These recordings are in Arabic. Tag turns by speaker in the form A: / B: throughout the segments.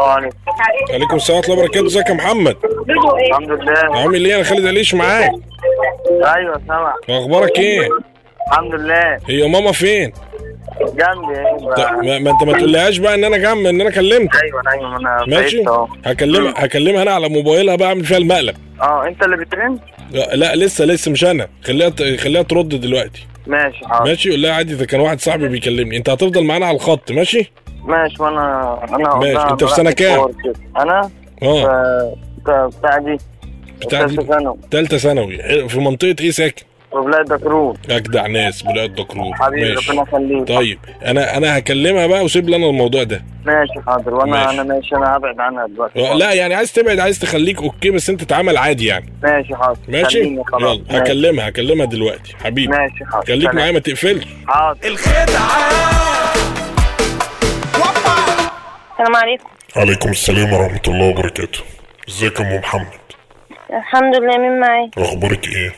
A: عليكم.
B: عليكم السلام ورحمه الله وبركاته ازيك يا محمد
C: إيه.
A: الحمد لله
B: عامل ايه انا خالد عليش معاك إيه.
A: ايوه سامع
B: اخبارك ايه
A: الحمد لله
B: هي ماما فين
A: جنبي
B: طيب،
A: ايوه
B: ما, ما انت ما تقوليهاش بقى ان انا جنب ان انا كلمتك
A: ايوه ايوه انا
B: ماشي
A: بقيت اهو
B: هكلمها هكلمها انا على موبايلها بقى اعمل فيها المقلب
A: اه انت اللي بترن
B: لا, لا لسه لسه مش انا خليها ت- خليها ترد دلوقتي
A: ماشي حاضر
B: ماشي قول لها عادي ده كان واحد صاحبي بيكلمني انت هتفضل معانا على الخط ماشي
A: ماشي وانا انا
B: ماشي،
A: هقولها
B: أنت في سنة
A: براحتي
B: كام؟
A: فور كده. انا
B: اه
A: ف- ف- بتاع دي
B: بتاع دي-
A: ثالثة ثانوي
B: تالتة ثانوي حلو، في منطقة ايه ساكن
A: وبلاد دكرور
B: اجدع ناس بلاد دكرور
A: حبيبي
B: ماشي
A: ربنا يخليك
B: طيب انا انا هكلمها بقى وسيب لي انا الموضوع ده
A: ماشي حاضر وانا
B: ماشي.
A: انا ماشي انا هبعد عنها دلوقتي
B: آه، لا يعني عايز تبعد عايز تخليك اوكي بس انت تعامل عادي يعني
A: ماشي حاضر
B: ماشي
A: خليني خلاص.
B: يلا
A: ماشي.
B: هكلمها هكلمها دلوقتي حبيبي
A: ماشي حاضر
B: خليك
A: سلام.
B: معايا ما تقفلش
A: حاضر
D: السلام عليكم
E: عليكم السلام ورحمة الله وبركاته ازيك يا ام محمد
D: الحمد لله مين معايا
E: اخبارك ايه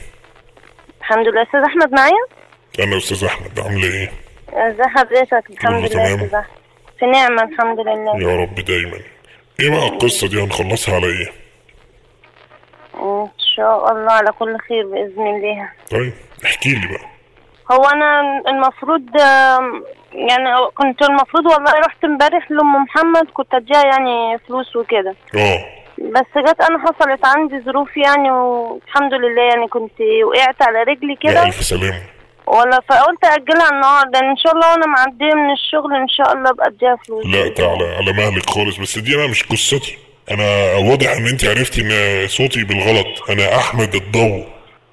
D: الحمد لله استاذ احمد معايا
E: انا استاذ احمد عاملة ايه
D: ازي حضرتك الحمد لله
E: تمام.
D: استاذ احمد في نعمة الحمد لله
E: يا رب دايما ايه بقى القصة دي هنخلصها على ايه
D: ان شاء الله على كل خير باذن الله
E: طيب احكي لي بقى
D: هو انا المفروض آم، يعني كنت المفروض والله رحت امبارح لام محمد كنت اديها يعني فلوس وكده
E: اه
D: بس جت انا حصلت عندي ظروف يعني والحمد لله يعني كنت وقعت على رجلي
E: يا
D: كده
E: الف سلامة
D: ولا فقلت اجلها النهارده ان شاء الله وانا معديه من الشغل ان شاء الله ابقى اديها فلوس
E: لا تعالى على مهلك خالص بس دي انا مش قصتي انا واضح ان انت عرفتي ان صوتي بالغلط انا احمد الضو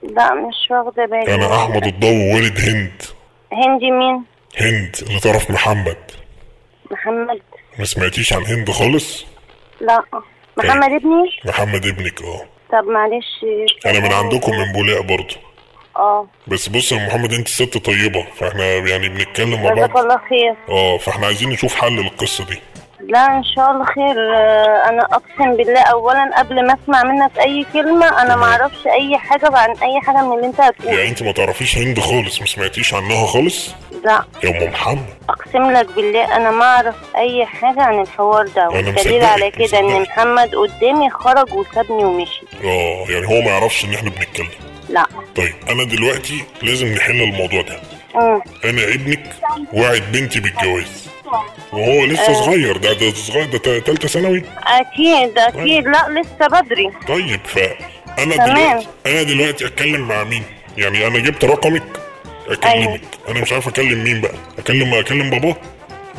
D: لا مش واخدة بالي
E: انا احمد الضو والد هند
D: هندي مين؟
E: هند اللي طرف محمد
D: محمد
E: ما سمعتيش عن هند خالص
D: لا أه. محمد
E: أيوه.
D: ابني؟
E: محمد ابنك اه
D: طب معلش
E: انا من عندكم من بولاق برضه
D: اه
E: بس بص يا محمد انت ست طيبه فاحنا يعني بنتكلم مع
D: جزاك
E: بعض
D: الله خير
E: اه فاحنا عايزين نشوف حل للقصه دي
D: لا ان شاء الله خير آه، انا اقسم بالله اولا قبل ما اسمع منك اي كلمة انا ما اعرفش اي حاجة عن اي حاجة من اللي انت
E: يعني
D: هتقوله
E: انت ما تعرفيش هند خالص ما سمعتيش عنها خالص
D: لا
E: يا ام محمد
D: اقسم لك بالله انا ما اعرف اي حاجة عن الحوار ده والدليل
E: مصدقك،
D: على كده ان
E: مصدقك.
D: محمد قدامي خرج وسابني ومشي
E: اه يعني هو ما يعرفش ان احنا بنتكلم
D: لا
E: طيب انا دلوقتي لازم نحل الموضوع ده
D: مم.
E: انا ابنك وعد بنتي بالجواز وهو
D: آه.
E: لسه صغير ده ده صغير ده تا- تالتة ثانوي
D: اكيد اكيد لا لسه بدري
E: طيب فانا
D: تمام.
E: دلوقتي انا دلوقتي اتكلم مع مين يعني انا جبت رقمك
D: أيوه.
E: اكلمك انا مش عارف اكلم مين بقى اكلم اكلم بابا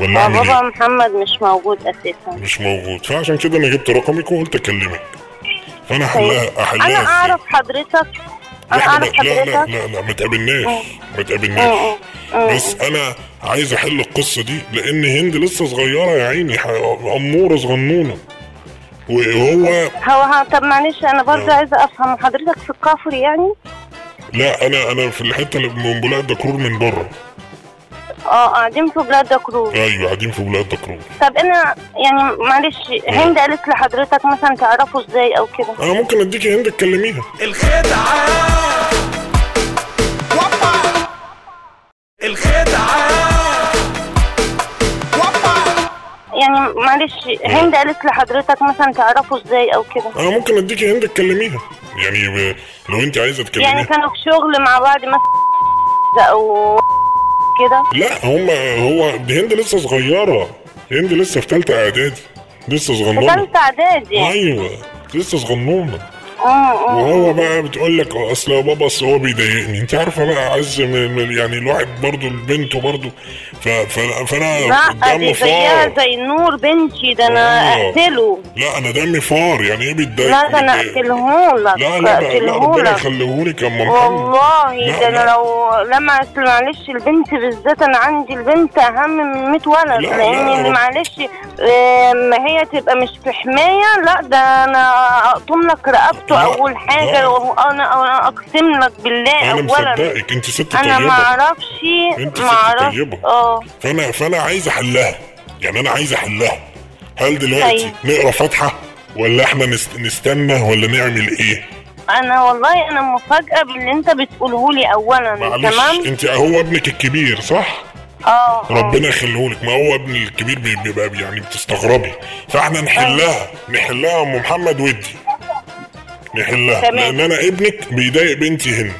E: ولا
D: آه،
E: اعمل
D: بابا
E: ايه
D: محمد مش موجود اساسا
E: مش موجود فعشان كده انا جبت رقمك وقلت اكلمك فانا احلها احلها
D: انا
E: إزاي؟
D: اعرف طيب. حضرتك
E: لا،
D: انا
E: إحنا ما-
D: اعرف
E: لا لا
D: حضرتك
E: لا لا ما تقابلناش ما تقابلناش بس انا عايز احل القصه دي لان هند لسه صغيره يا عيني ح- اموره صغنونه وهو
D: هو ها طب معلش انا
E: آه.
D: برضه عايزه افهم حضرتك في الكفر يعني
E: لا انا انا في الحته اللي من بلاد دكرور من بره
D: اه قاعدين في بلاد دكرور
E: ايوه قاعدين في بلاد دكرور
D: طب انا يعني معلش
E: إيه.
D: هند قالت لحضرتك مثلا تعرفه ازاي او كده
E: انا ممكن اديكي هند تكلميها
D: يعني معلش هند قالت لحضرتك مثلا تعرفه ازاي او كده
E: انا ممكن اديكي هند تكلميها يعني ب- لو انت عايزه تكلميها
D: يعني كانوا في شغل مع بعض مثلا او كده
E: لا هم هو هند لسه صغيره هند لسه في ثالثه اعدادي لسه
D: في يعني.
E: صغنونه
D: ثالثه اعدادي
E: ايوه لسه صغنونه
D: أمم، أمم.
E: وهو بقى بتقول لك اصل يا بابا اصل هو بيضايقني انت عارفه بقى عز من من- يعني الواحد برضه لبنته برضه ف- ف- فانا
D: لا
E: دمي
D: دي زيها
E: فار
D: زي النور بنتي ده انا
E: آه.
D: اقتله
E: لا انا دمي فار يعني ايه بيتضايق
D: لا ده انا
E: بيتضايق.
D: اقتلهولك
E: لا لا لا, لا ربنا
D: اقتلهولك
E: يخليهولك يا ام محمد
D: والله
E: لا،
D: ده انا
E: لا.
D: لو لما أصل معلش البنت بالذات انا عندي البنت اهم من 100 ولد
E: لا،
D: لان
E: لا.
D: معلش آم، هي تبقى مش في حمايه لا ده انا اقطم لك رقبته
E: لا،
D: اول
E: لا.
D: حاجه وانا أنا اقسم لك بالله
E: انا
D: اولا
E: مصدقك انت ست
D: انا ما
E: طيبه
D: اعرفش
E: أنت
D: ما
E: ست
D: اعرفش
E: طيبة.
D: اه
E: فانا فانا عايز احلها يعني انا عايز احلها هل دلوقتي
D: طيب.
E: نقرا فاتحه ولا احنا نست- نستنى ولا نعمل ايه
D: انا والله انا مفاجاه باللي انت بتقوله لي اولا
E: معلش
D: تمام
E: انت هو ابنك الكبير صح
D: اه آه.
E: ربنا يخليهولك ما هو ابن الكبير بي- بيبقى يعني بتستغربي
D: آه.
E: فاحنا نحلها نحلها ام محمد ودي نحلها
D: تمام.
E: لان انا ابنك بيضايق بنتي هند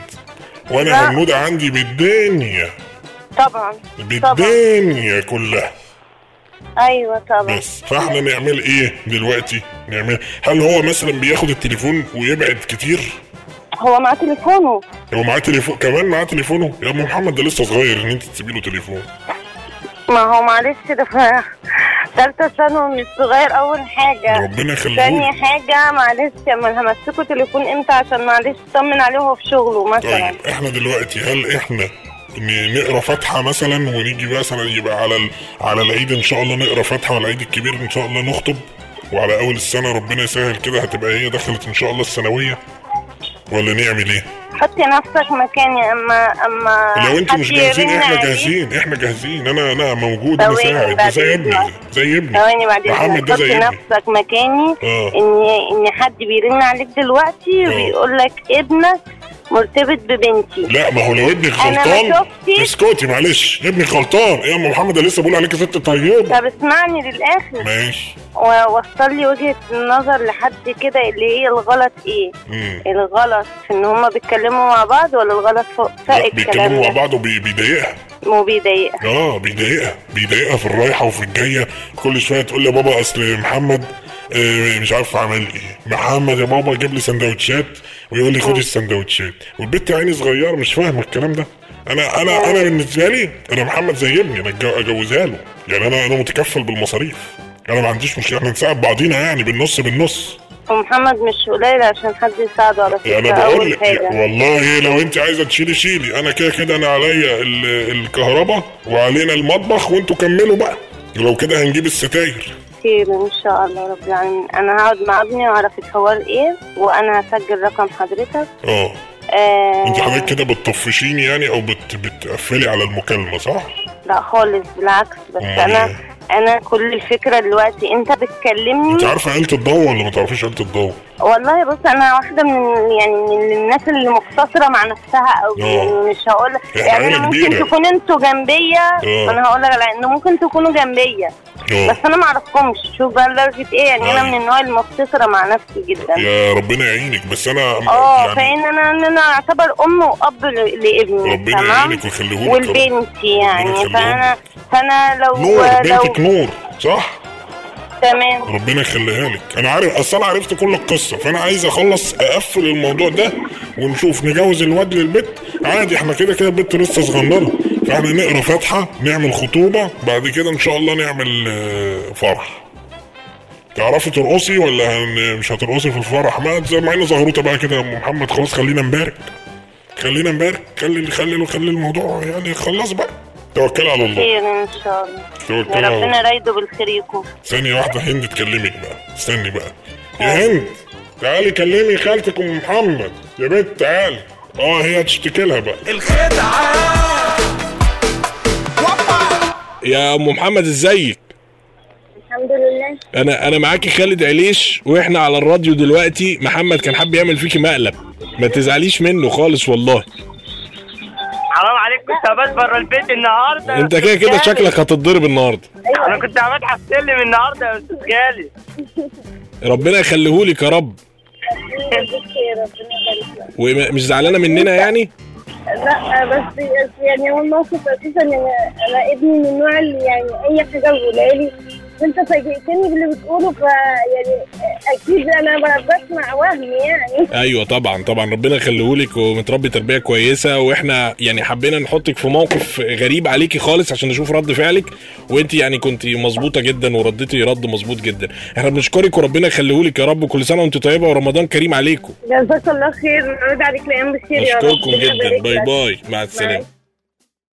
D: لا. آه.
E: وانا هنودة عندي بالدنيا
D: طبعا طبعا
E: بالدنيا كلها
D: ايوه طبعا
E: بس فاحنا نعمل ايه دلوقتي نعمل هل هو مثلا بياخد التليفون ويبعد كتير
D: هو مع تليفونه
E: هو معاه تليفون كمان معاه تليفونه يا ام محمد ده لسه صغير ان انت تسيبي له تليفون
D: ما هو معلش ده في تالتة ثانوي مش صغير أول حاجة
E: ربنا
D: تاني
E: يخليهولك
D: حاجة معلش أما همسكه تليفون امتى عشان معلش اطمن عليه وهو في شغله مثلا
E: طيب احنا دلوقتي هل احنا ن- نقرا فاتحه مثلا ونيجي مثلا يبقى على ال... على العيد ان شاء الله نقرا فاتحه والعيد الكبير ان شاء الله نخطب وعلى اول السنه ربنا يسهل كده هتبقى هي دخلت ان شاء الله الثانويه ولا نعمل ايه؟
D: حطي نفسك مكاني أما أما
E: لو انتوا مش
D: آه، حد
E: جاهزين
D: يرن
E: احنا
D: عليك-
E: جاهزين احنا جاهزين انا انا موجود انا
D: ثواني
E: ساعد ده
D: بعد
E: زي ابني
D: اذنك.
E: زي ابني
D: ثواني بعد
E: محمد
D: إذنك
E: ده زي
D: حطي
E: ابني
D: نفسك مكاني
E: اه.
D: إن إن حد بيرن عليك
E: آه.
D: دلوقتي وبيقول لك ابنك مرتبط ببنتي
E: لا ما هو لو ابنك
D: أنا ما
E: غلطان
D: شفتش.
E: اسكتي معلش ابنك غلطان يا ام محمد أنا لسه بقول عليك يا ست طيبه
D: طب اسمعني للآخر
E: ماشي
D: ووصل لي وجهة النظر لحد كده اللي هي الغلط ايه
E: مم.
D: الغلط في ان هما بيتكلموا مع بعض ولا الغلط فوق
E: لا
D: فاق
E: بيتكلموا مع
D: الكلام يعني؟ ده
E: بعض وبيضايقها
D: وبيضايقها
E: اه بيضايقها بيضايقها في الرايحه وفي الجايه كل شويه تقول لي يا بابا اصل محمد آه، مش عارف عمل ايه محمد يا بابا جيب لي سندوتشات ويقول لي خد السندوتشات والبت يا عيني صغيره مش فاهمه الكلام ده انا انا انا بالنسبه لي انا محمد زي ابني انا أتجو- اجوزها له يعني انا انا متكفل بالمصاريف انا ما عنديش مشكله احنا نساعد بعضينا يعني بالنص بالنص
D: ومحمد مش قليل عشان حد يساعده على
E: يعني
D: فكرة
E: انا بقول
D: اول
E: لك
D: حاجة
E: والله لو انت عايزه تشيلي شيلي انا كده كده انا عليا ال- الكهرباء وعلينا المطبخ وانتوا كملوا بقى لو كده هنجيب الستاير
D: خير ان شاء الله رب العالمين انا هقعد مع ابني واعرف الحوار ايه وانا هسجل رقم حضرتك
E: اه
D: آه
E: انت حضرتك كده بتطفشيني يعني او بت... بتقفلي على المكالمه صح؟
D: لا خالص بالعكس بس
E: أمال
D: انا
E: إيه؟
D: انا كل الفكرة دلوقتي انت بتكلمني
E: انت عارفه آلة الضوء ولا ما تعرفيش آلة الضوء؟
D: والله بص انا واحده من يعني من الناس اللي مقتصره مع نفسها او
E: آه.
D: مش هقول
E: إحنا
D: يعني
E: عيلة
D: أنا ممكن
E: كبيرة.
D: تكون انتوا جنبيا
E: آه.
D: انا هقول لك على انه ممكن تكونوا جنبيا بس
E: اه
D: انا ما اعرفكمش شوف بقى لدرجه ايه يعني انا
E: أيوة.
D: من النوع المقتصره مع نفسي جدا
E: يا ربنا يعينك بس انا يعني
D: اه فان انا ان انا اعتبر ام واب ل- لابني
E: ربنا
D: تمام
E: يعينك ويخليهولك
D: والبنت يعني
E: يخليهم.
D: فانا فانا لو
E: نور
D: لو
E: بنتك نور صح؟
D: تمام
E: ربنا يخليها لك انا عارف اصل انا عرفت كل القصه فانا عايز اخلص اقفل الموضوع ده ونشوف نجوز الواد للبت عادي احنا كده كده البت لسه صغننه فاحنا نقرا فاتحه نعمل خطوبه بعد كده ان شاء الله نعمل آه، فرح تعرفي ترقصي ولا هن- مش هترقصي في الفرح ما زي ما عينا زغروطه بقى كده يا ام محمد خلاص خلينا نبارك خلينا نبارك خلي خلي خلي الموضوع يعني خلص بقى توكل على الله
D: خير ان شاء الله
E: توكل على الله
D: وربنا رايده بالخير يكون
E: ثانية واحدة هند تكلمك بقى استني بقى يا هند تعالي كلمي خالتك ام محمد يا بنت تعالي اه هي هتشتكي لها بقى
B: يا ام محمد ازيك
D: الحمد لله
B: انا انا معاكي خالد عليش واحنا على الراديو دلوقتي محمد كان حابب يعمل فيكي مقلب ما تزعليش منه خالص والله
C: حرام عليك كنت هبات بره البيت النهارده يا
B: انت
C: أستاذ
B: كده كده
C: خالد.
A: يعني.
B: شكلك هتتضرب النهارده
C: انا كنت هبات على السلم النهارده يا استاذ خالد
B: ربنا يخليهولك يا رب ومش زعلانه مننا يعني
F: لا بس بس يعني هو الموقف اساسا ان انا يعني ابني من النوع اللي يعني اي حاجه بيقولها لي انت فاجئتني باللي بتقوله فيعني اكيد انا ب- بسمع وهم يعني
B: ايوه طبعا طبعا ربنا يخليهولك ومتربي تربيه كويسه واحنا يعني حبينا نحطك في موقف غريب عليكي خالص عشان نشوف رد فعلك وانت يعني كنت مظبوطه جدا ورديتي رد مظبوط جدا احنا بنشكرك وربنا يخليهولك يا رب كل سنه وانت طيبه ورمضان كريم عليكم
F: جزاك الله خير ونعود عليك الايام بالخير يا رب
B: نشكركم
F: ربنا
B: جدا
F: يبارك
B: باي
F: لك.
B: باي مع السلامه